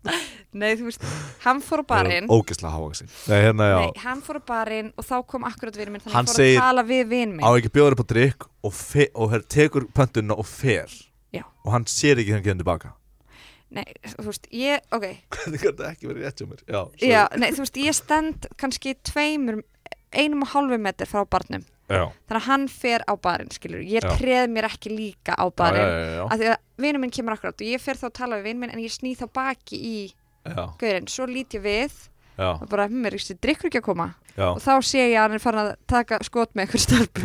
S2: Nei, þú veist, hann fór á barinn
S1: Ógislega háa sín. Nei, hérna, já.
S2: Nei, hann fór á barinn og þá kom akkurat vinn minn þannig
S1: Hann
S2: hann fór
S1: segir-
S2: að tala við vinn minn
S1: Á ekki bjóður upp á drikk og, fe- og her, tekur pöntunna og fer.
S2: Já.
S1: Og hann sér ekki hann kemur tilbaka.
S2: Nei, þú veist, ég, ok
S1: Hvernig gæti það ekki verið rétt hjá mér? Já. sorry.
S2: Já, nei, þú veist, ég stend kannski tveimur, einum og hálfu metr frá barnum
S1: Já.
S2: þannig að hann fer á barinn, skilur ég
S1: Já.
S2: treð mér ekki líka
S1: Já,
S2: á
S1: já,
S2: barinn
S1: já, já.
S2: af því að vinur minn kemur akkurat og ég fer þá að tala við vinur minn en ég sný þá baki í
S1: Já,
S2: gaurinn, svo lít ég við
S1: já,
S2: og bara, mér er ekki drikkur ekki að koma
S1: já.
S2: og þá sé ég að hann er farin að taka skot með einhver stelpu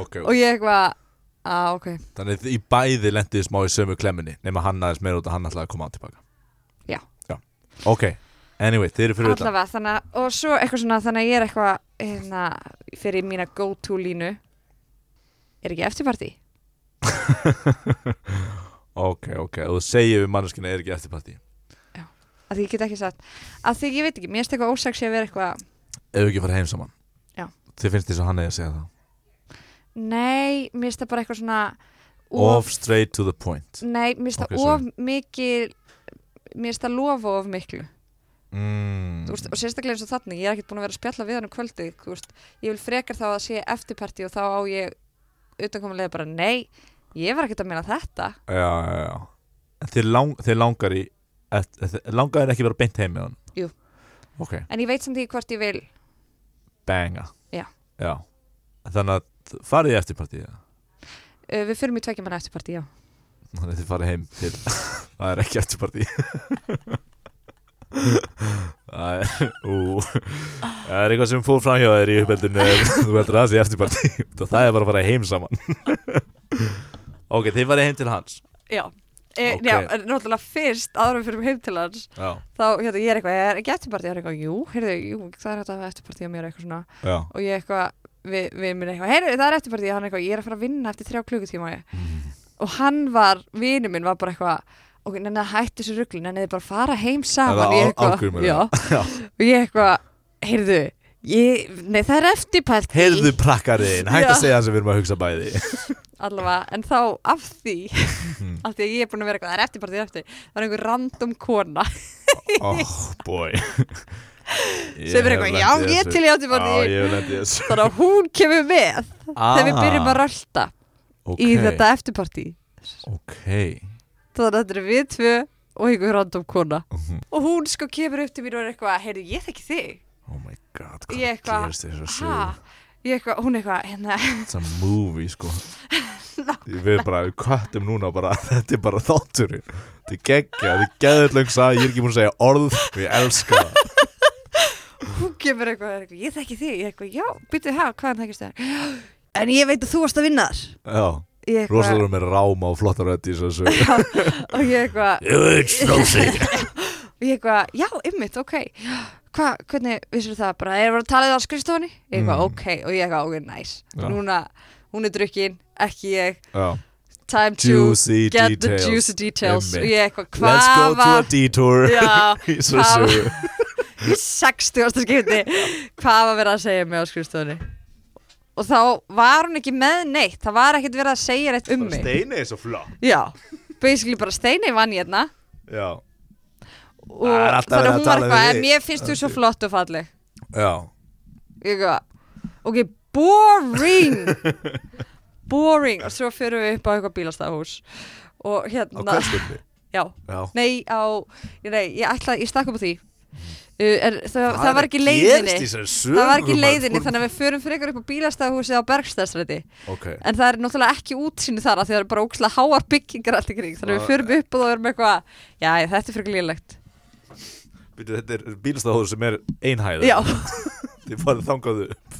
S1: Ok,
S2: og ég eitthvað, að ok
S1: Þannig að í bæði lendiði smá í sömu klemminni nema hann aðeins meira út að hann ætlaði að koma á tilbaka
S2: Já.
S1: Ok, anyway, þeir eru fyrir utan
S2: allavega, þannig að, og svo eitthvað svona þannig að ég er eitthvað, hérna fyrir mína go to línu er ekki eftirparti?
S1: Ok, ok, og þú segir við manneskina er ekki eftirparti
S2: að því ég get ekki sagt, að því ég veit ekki mér finnst eitthvað ósaks ég að vera eitthvað
S1: Ef við ekki fara heim saman
S2: Já.
S1: Þið finnst því svo hann eigi að segja það
S2: nei, mér finnst það bara eitthvað svona
S1: Off straight to the point
S2: Nei, mér finnst
S1: Ok,
S2: það
S1: sorry.
S2: of mikil mér finnst það lofa of miklu
S1: mm.
S2: Þú veist, og sérstaklega eins og þannig, ég er ekkert búin að vera að spjalla við hann um kvöldið, þú veist, ég vil frekar þá að sé eftirparti og þá á ég utankomulega bara, nei, ég var ekkert að meina þetta,
S1: Já, já, já En þeir, lang, þeir langar í eft- þeir langar þeir ekki að vera beint heim með hann
S2: Jú.
S1: Ok,
S2: en ég veit samt ekki hvort ég vil
S1: banga
S2: Já.
S1: Já. Þannig að farið í eftirparti
S2: uh, við fyrir mér tveikja manna eftirparti, já
S1: Þannig að þið farið heim til Það er ekki eftirparti Það er ú, Það er eitthvað sem fór fram hjá þér í uppeldinu en Þú heldur að það sé eftirparti Það er bara að fara heim saman Ok, þið farið heim til hans
S2: Já, e,
S1: Ok.
S2: já, en náttúrulega fyrst áður en við fyrir heim til hans,
S1: Já,
S2: þá, hérna, ég er eitthvað, ég er ekki eftirparti, ég er eitthvað, jú, heyrðu, jú, það er þetta eftirparti á mér eitthvað svona,
S1: já
S2: og ég eitthvað, við, við minn eitthvað, heyrðu, það er eftirparti, hann eitthvað, ég er að fara að vinna eftir þrjá klukkutíma, ég og hann var, vinur minn var bara eitthvað ok, nenni að hætti þessu ruggli, nenni þið bara að fara heim saman
S1: Það var Ál-
S2: Ég Ah,
S1: Álfgrímur,
S2: eitthvað- já,
S1: já.
S2: og ég eitthvað, heyrðu ég, nei það er eftirpælt
S1: Heyrðu prakkariðin, hægt að
S2: Já.
S1: segja það sem við erum að hugsa bæði
S2: allavega, en þá af því af því að ég er búin að vera eitthvað, það er eftirpælt, það er eftir það er einhver random kona
S1: Oh boy
S2: sem er eitthvað, já ég er til í
S1: Já,
S2: eftirpælt
S1: ég hef lendið þessu Ah,
S2: þannig að hún kemur með þegar við byrjum að rölda í þetta eftirparti
S1: Ok,
S2: þannig að þetta er við tvö og einhver random kona
S1: Mhm.
S2: og hún sko kemur upp til mín og er eitthvað, heyrðu ég þekki þig
S1: oh my god
S2: Ég
S1: Hvað
S2: eitthvað,
S1: gerist þér þessu
S2: ha, ég eitthvað, hún eitthvað hérna,
S1: It's a movie sko Við bara, við kvættum núna bara Þetta er bara þátturinn Þetta er geggja, þetta er geðutlöng sag Ég er ekki múin að segja orð, við elska það
S2: hún kemur eitthvað, er eitthvað ég þekki þig, ég eitthvað, já, byrju, hæ, hvaðan þekkist þér en ég veit að þú varst að vinna þar
S1: Já,
S2: Ég eitthvað-
S1: rosalega með ráma og flottar öll í þessu sögu.
S2: og ég eitthvað,
S1: Ég veit slósi
S2: og ég eitthvað já, ymmit, ok hvað, hvernig, vissir það, bara, er verið að tala við á skrifstofunni ég eitthvað,
S1: Mm.
S2: ok, og ég eitthvað, ok, næs
S1: Já.
S2: núna, hún er drukkin, ekki ég
S1: Já.
S2: time to
S1: Juicy
S2: get
S1: details
S2: the juicy details
S1: Einmitt.
S2: og ég eitthvað,
S1: Let's go
S2: hvað
S1: to a
S2: var
S1: detour
S2: já,
S1: Í þessu
S2: hvað-
S1: sögu.
S2: í 60. skipti hvað var verið að segja mig á skrifstofunni og þá var hún ekki með neitt það var ekkert verið að segja neitt um
S1: Bara
S2: mig
S1: Steini er svo flott
S2: já, basically bara steini vann ég hérna
S1: Já,
S2: og
S1: Það er alltaf verið að
S2: þannig að hún var
S1: tala við
S2: eitthvað
S1: þig.
S2: en mér finnst þú svo flott og falleg
S1: Já,
S2: Ég eitthvað, ok, boring boring og svo fyrir við upp á eitthvað bílastæðahús
S1: á
S2: og hérna,
S1: kvöldstundni
S2: já
S1: Já,
S2: nei, á, nei, ég ætla ég stakk upp á því uh, er, það, það var ekki
S1: gerist í
S2: leiðinni
S1: þessari sögu,
S2: það var ekki
S1: maður?
S2: leiðinni, þannig að við förum frekar upp á bílastæðahúsið á Bergstæðsræti
S1: Ok,
S2: en það er náttúrulega ekki útsýni þar af því það eru bara ókslega háar byggingar allt í kring þannig að við förum upp og það erum eitthvað já, þetta er frekar lélegt
S1: Býtu, þetta er bílstæðahóður sem er einhæð
S2: já,
S1: Þið farið þangaðu upp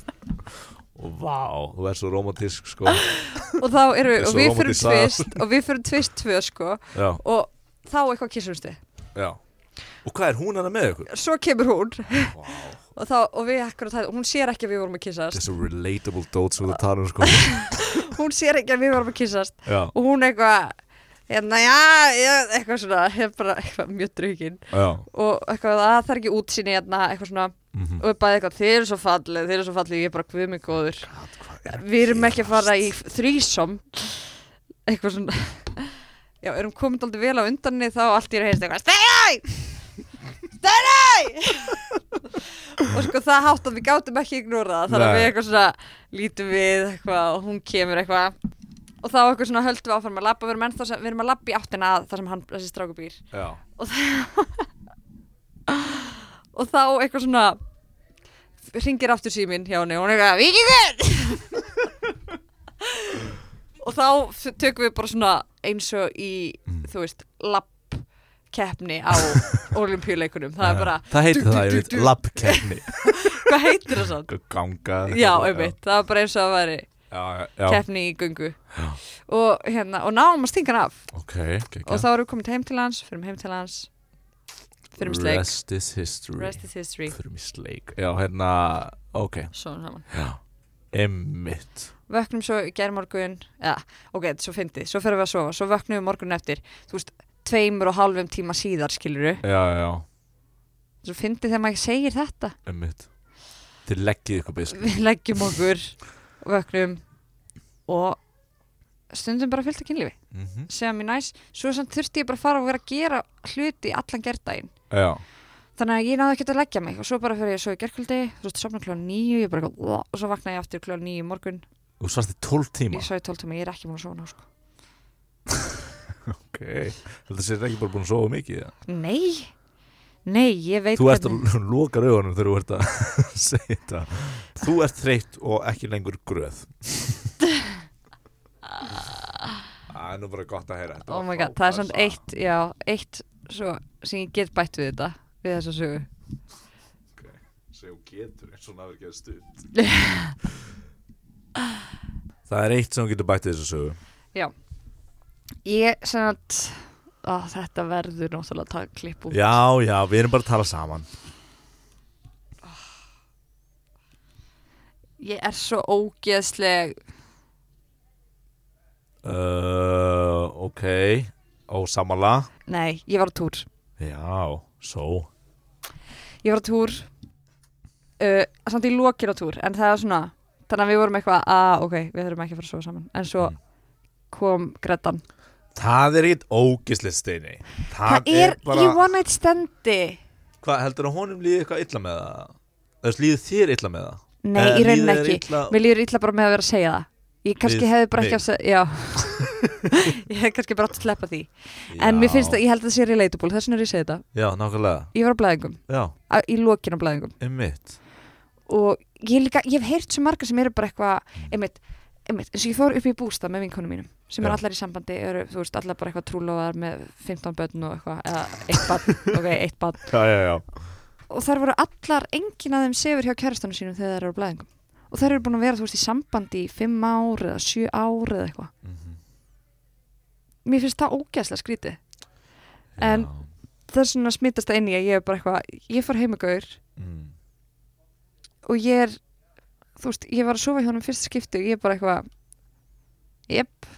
S1: Og vá, þú er svo romantisk sko
S2: og þá erum við
S1: Svo
S2: og við förum
S1: rómantískt sagði.
S2: tvist og við förum tvist tvö sko
S1: Já,
S2: og þá eitthvað kyssumst við
S1: já Og hvað er hún hana með ykkur?
S2: svo kemur hún
S1: Vá,
S2: og, þá, og við akkurat það, hún sér ekki að við vorum að kyssast
S1: þessu relatable dót sem þú talar um sko
S2: hún sér ekki að við vorum að kyssast
S1: Já,
S2: og hún eitthvað hérna, já, já, eitthvað svona hef bara eitthvað mjög drukkin
S1: já
S2: og eitthvað að það er ekki útsýni hérna, eitthvað svona
S1: mm
S2: og við bæði eitthvað, þið eru svo fallið, þið eru svo fallið ég er bara guðmið góður
S1: Hvað er
S2: við erum ekki að fara í þrísom eitthvað svona já, erum komin aldrei vel á undanni þá allt í að heyrst eitthvað Steinæ! Steinæ! og sko það hátt að við gátum ekki ignora það þannig að
S1: Nei.
S2: við eitthvað svona lítum við eitthvað og hún kemur eitthvað og þá eitthvað svona höldum við áfram að labba við erum, ennþá sem, við erum að labba í áttina að það sem hann, þessi stráku býr
S1: Já,
S2: og þá eitthvað svona ringir aftur síminn hjá henni og hún er eitthvað Víkingur! og þá f- tökum við bara svona eins og í,
S1: Mm.
S2: þú veist, lapp keppni á olimpíuleikunum það er bara,
S1: Það heitir
S2: Du, du,
S1: það, ég
S2: du,
S1: veit,
S2: du.
S1: labbkeppni
S2: hvað heitir það samt?
S1: Ganga
S2: Já, einmitt, það var bara eins og að væri
S1: Já, já, já.
S2: keppni í gungu
S1: Já.
S2: og hérna, og náum að stinga hann af
S1: ok
S2: og þá erum við komin heim til hans, fyrir heim til hans fyrir um sleik,
S1: Rest is history
S2: rest is history
S1: Fyrir mig sleik Já, hérna, ok
S2: svona saman
S1: Já, emmitt
S2: vöknum svo í gerðmorgun eða, ok, þetta er svo fyndið, svo ferum við að sofa svo vöknum við morgun eftir, þú veist tveimur og hálfum tíma síðar skiluru
S1: Já, já,
S2: svo fyndið þegar maður segir þetta
S1: emmitt Þið leggið ykkur beisl
S2: við leggjum okkur, vöknum og stundum bara fyllt að kynlífi,
S1: mm -hmm.
S2: segja mér næs svo samt þurfti ég bara að fara og vera að gera hluti allan gerðdægin,
S1: Já,
S2: þannig að ég náði ekki að leggja mig og svo bara fyrir ég svo í gerðkvöldi þú veist, sofna kljóðan níu, ég bara eitthvað, "Uah", og svo vakna ég aftur kljóðan níu í morgun,
S1: þú svarst í 12 tíma
S2: ég svo í tóltumi, ég er ekki múin að sofa ná, sko.
S1: Ok, þetta sér ekki bara búin að sofa mikið ja.
S2: Nei, nei, ég veit
S1: Þú ert
S2: hvernig-
S1: að loka raugunum þegar þú ert að segja þetta Þú ert þreytt og ekki lengur gröð Það er nú bara gott að heyra þetta
S2: oh
S1: var
S2: my god, það er samt
S1: frábær saga.
S2: eitt já, eitt svo, sem ég get bætt við þetta við þessa sögu
S1: sem hún getur eins og hún hafi ekki að stutt Það er eitt sem hún getur bætt í þessu sögu
S2: ég sem að á, þetta verður náttúrulega að taka klipp út
S1: Já, já, við erum bara að tala saman
S2: ég er svo ógeðsleg
S1: uh, Ok, ósamala
S2: nei, ég var á túr
S1: Já, svo
S2: ég var á túr uh, samt ég lokir á túr en það er svona, þannig að við vorum eitthvað að ok, við þurfum ekki að fara að sofa saman en svo
S1: Mm.
S2: kom Gretan
S1: Það er ekkert ógislið steini
S2: það er í one night standi
S1: Hvað heldur að honum líði eitthvað illa með það? Þess líði þér illa með það?
S2: nei,
S1: Eða
S2: í rauninni
S1: líður þér
S2: ekki
S1: illa-
S2: Mér líður illa bara með að vera að segja það Ég kannski
S1: Við
S2: hefði bara
S1: mig.
S2: ekki að segja Já Ég hefði kannski bara átt að sleppa því En
S1: Já.
S2: mér finnst það, ég held að það sé relatable Þess vegna er ég að segja þetta
S1: Já, nákvæmlega
S2: Ég var á blæðingum,
S1: Já,
S2: á- í lokin á blæðingum
S1: einmitt
S2: Og ég, líka, ég hef heyrt svo marga sem eru bara eitthvað Einmitt, einmitt eins og ég fór upp í bústað með vinkonum mínum sem
S1: Já.
S2: eru allar í sambandi, eru, þú veist, allar bara eitthvað trúlóðar með 15 börn og eitthvað eða eitt barn, ok, eitt barn
S1: Já, já, já
S2: og þar voru allar, enginn af þeim sefur hjá kærastanum sínum þegar þær eru á blæðingum og þær eru búin að vera, þú veist, í sambandi í 5 ár eða 7 ár eða eitthvað mér finnst það ógæslega skrítið En- það er svona smittast það inn í að ég er bara eitthvað ég fór heimugaur
S1: mm.
S2: og ég er þú veist, ég var að sofa hjá honum fyrsta skipti og ég er bara eitthvað jep,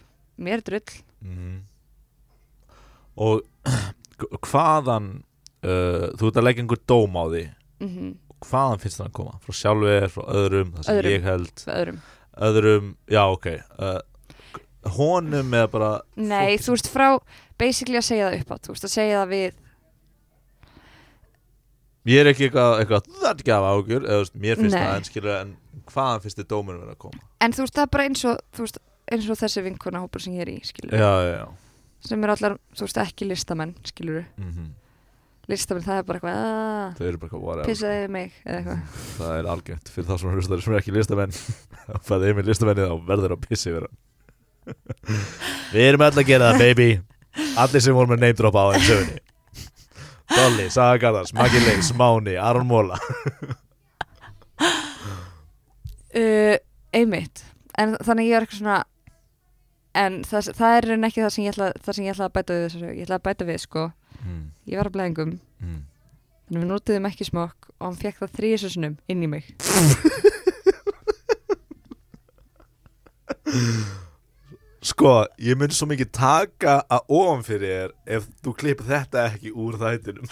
S2: mér er drull
S1: Mm. Og h- hvaðan uh, Þú ert að leggja einhver dóm á því
S2: mm -hmm,
S1: Hvaðan finnst það að koma? Frá sjálfur, frá öðrum, það sem
S2: Öðrum.
S1: ég held
S2: öðrum.
S1: Öðrum, já, ok uh, Honum eða bara
S2: Nei,
S1: fólki
S2: þú veist, frá basically að segja það upp á, þú veist, að segja það við
S1: Ég er ekki eitthvað, eitthvað það ekki af ágjur eða, þú veist, Mér finnst
S2: Nei.
S1: það en skilur en hvaðan finnst þið dómurinn vera að koma
S2: En þú veist, það er bara eins og, þú veist, eins og þessi vinkona hópur sem ég er í, skilur
S1: Já, já, já
S2: sem er allar, þú veist, ekki listamenn, skilur
S1: mm
S2: listamenn, það er bara eitthvað aaaah,
S1: Þau eru bara eitthvað whatever
S2: pissaði yfir mig eða eitthvað,
S1: Það er algjönt fyrir þá sem eru hlustari sem er ekki listamenn Það er með listamenni þá verður að pissi vera Við erum öll að gera það baby Allir sem voru með name drop á þeim sögunni Dolly, Saga Garðars, Maggi Leifs, Máni, Aron Móla
S2: uh, einmitt en þannig ég er eitthvað svona en það, það er í raun ekki það sem ég ætla það sem ég ætla að bæta við, þessu, ég ætla að bæta við sko,
S1: mm,
S2: ég var að blæðingum
S1: mm.
S2: þannig við notuðum ekki smokk og hann fekk það þrýsusunum inn í mig
S1: Sko, ég mun svo mikið taka að ofan fyrir þér ef þú klippir þetta ekki úr þættinum.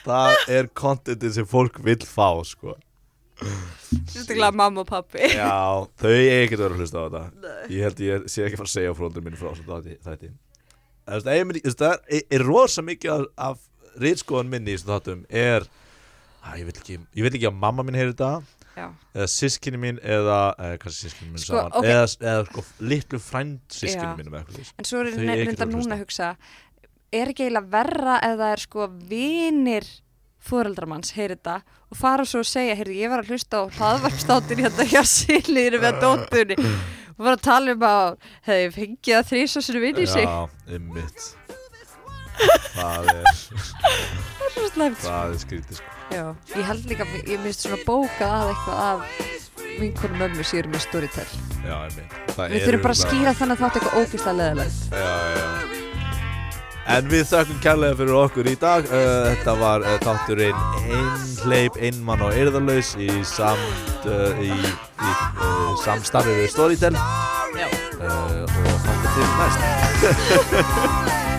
S1: Það er kontentið sem fólk vill fá, sko.
S2: sérstaklega mamma og pappi
S1: Já, þau eiga ekki að vera að hlusta á þetta. Ég held ég sé ekki að fara að segja fróndur mínu frá þessu þætti- þætti. En þú veist, eigum við- þú veist, Það er, er rosa mikið af, af rýtskóðan minni í þessu þáttum er, að, ég, vil ekki, ég vil ekki að mamma mín heyri þetta.
S2: Já.
S1: eða sískinni mín eða, eða kannski sískinni mín
S2: Sko,
S1: saman
S2: ok.
S1: eða, eða sko, litlu frænd sískinni
S2: Já.
S1: mínum eða eitthvað
S2: en svo er
S1: Þau eiga ekki
S2: þetta
S1: að
S2: núna
S1: hlusta.
S2: að hugsa er ekki eiginlega verra ef það er sko vinir fóreldramanns, heyri þetta og fara svo að segja, heyrðu, ég var að hlusta á hlaðvarpstáttinn hérna hjá Silíður við að dóttunni og var að tala um að hefði fengið að þrýsa sér vinn í sig
S1: Já, ymmit Það er,
S2: Það er svo slæmt.
S1: það er skrítið sko
S2: Já. ég held líka, ég minnst svona bóka að eitthvað af vinkonum mömmu sér með storytell
S1: Já, ymmit Það
S2: við
S1: eru
S2: þurfum bara að skýra þannig að þátt eitthvað ógeðslega leðilegt
S1: Já, já En við þökkum kærlega fyrir okkur í dag uh, Þetta var uh, þátturinn Einhleip, einmann og eirðarlaus í, samt, uh, í, í uh, samstarfi við Storytel uh, og þáttu til næst
S3: Storytel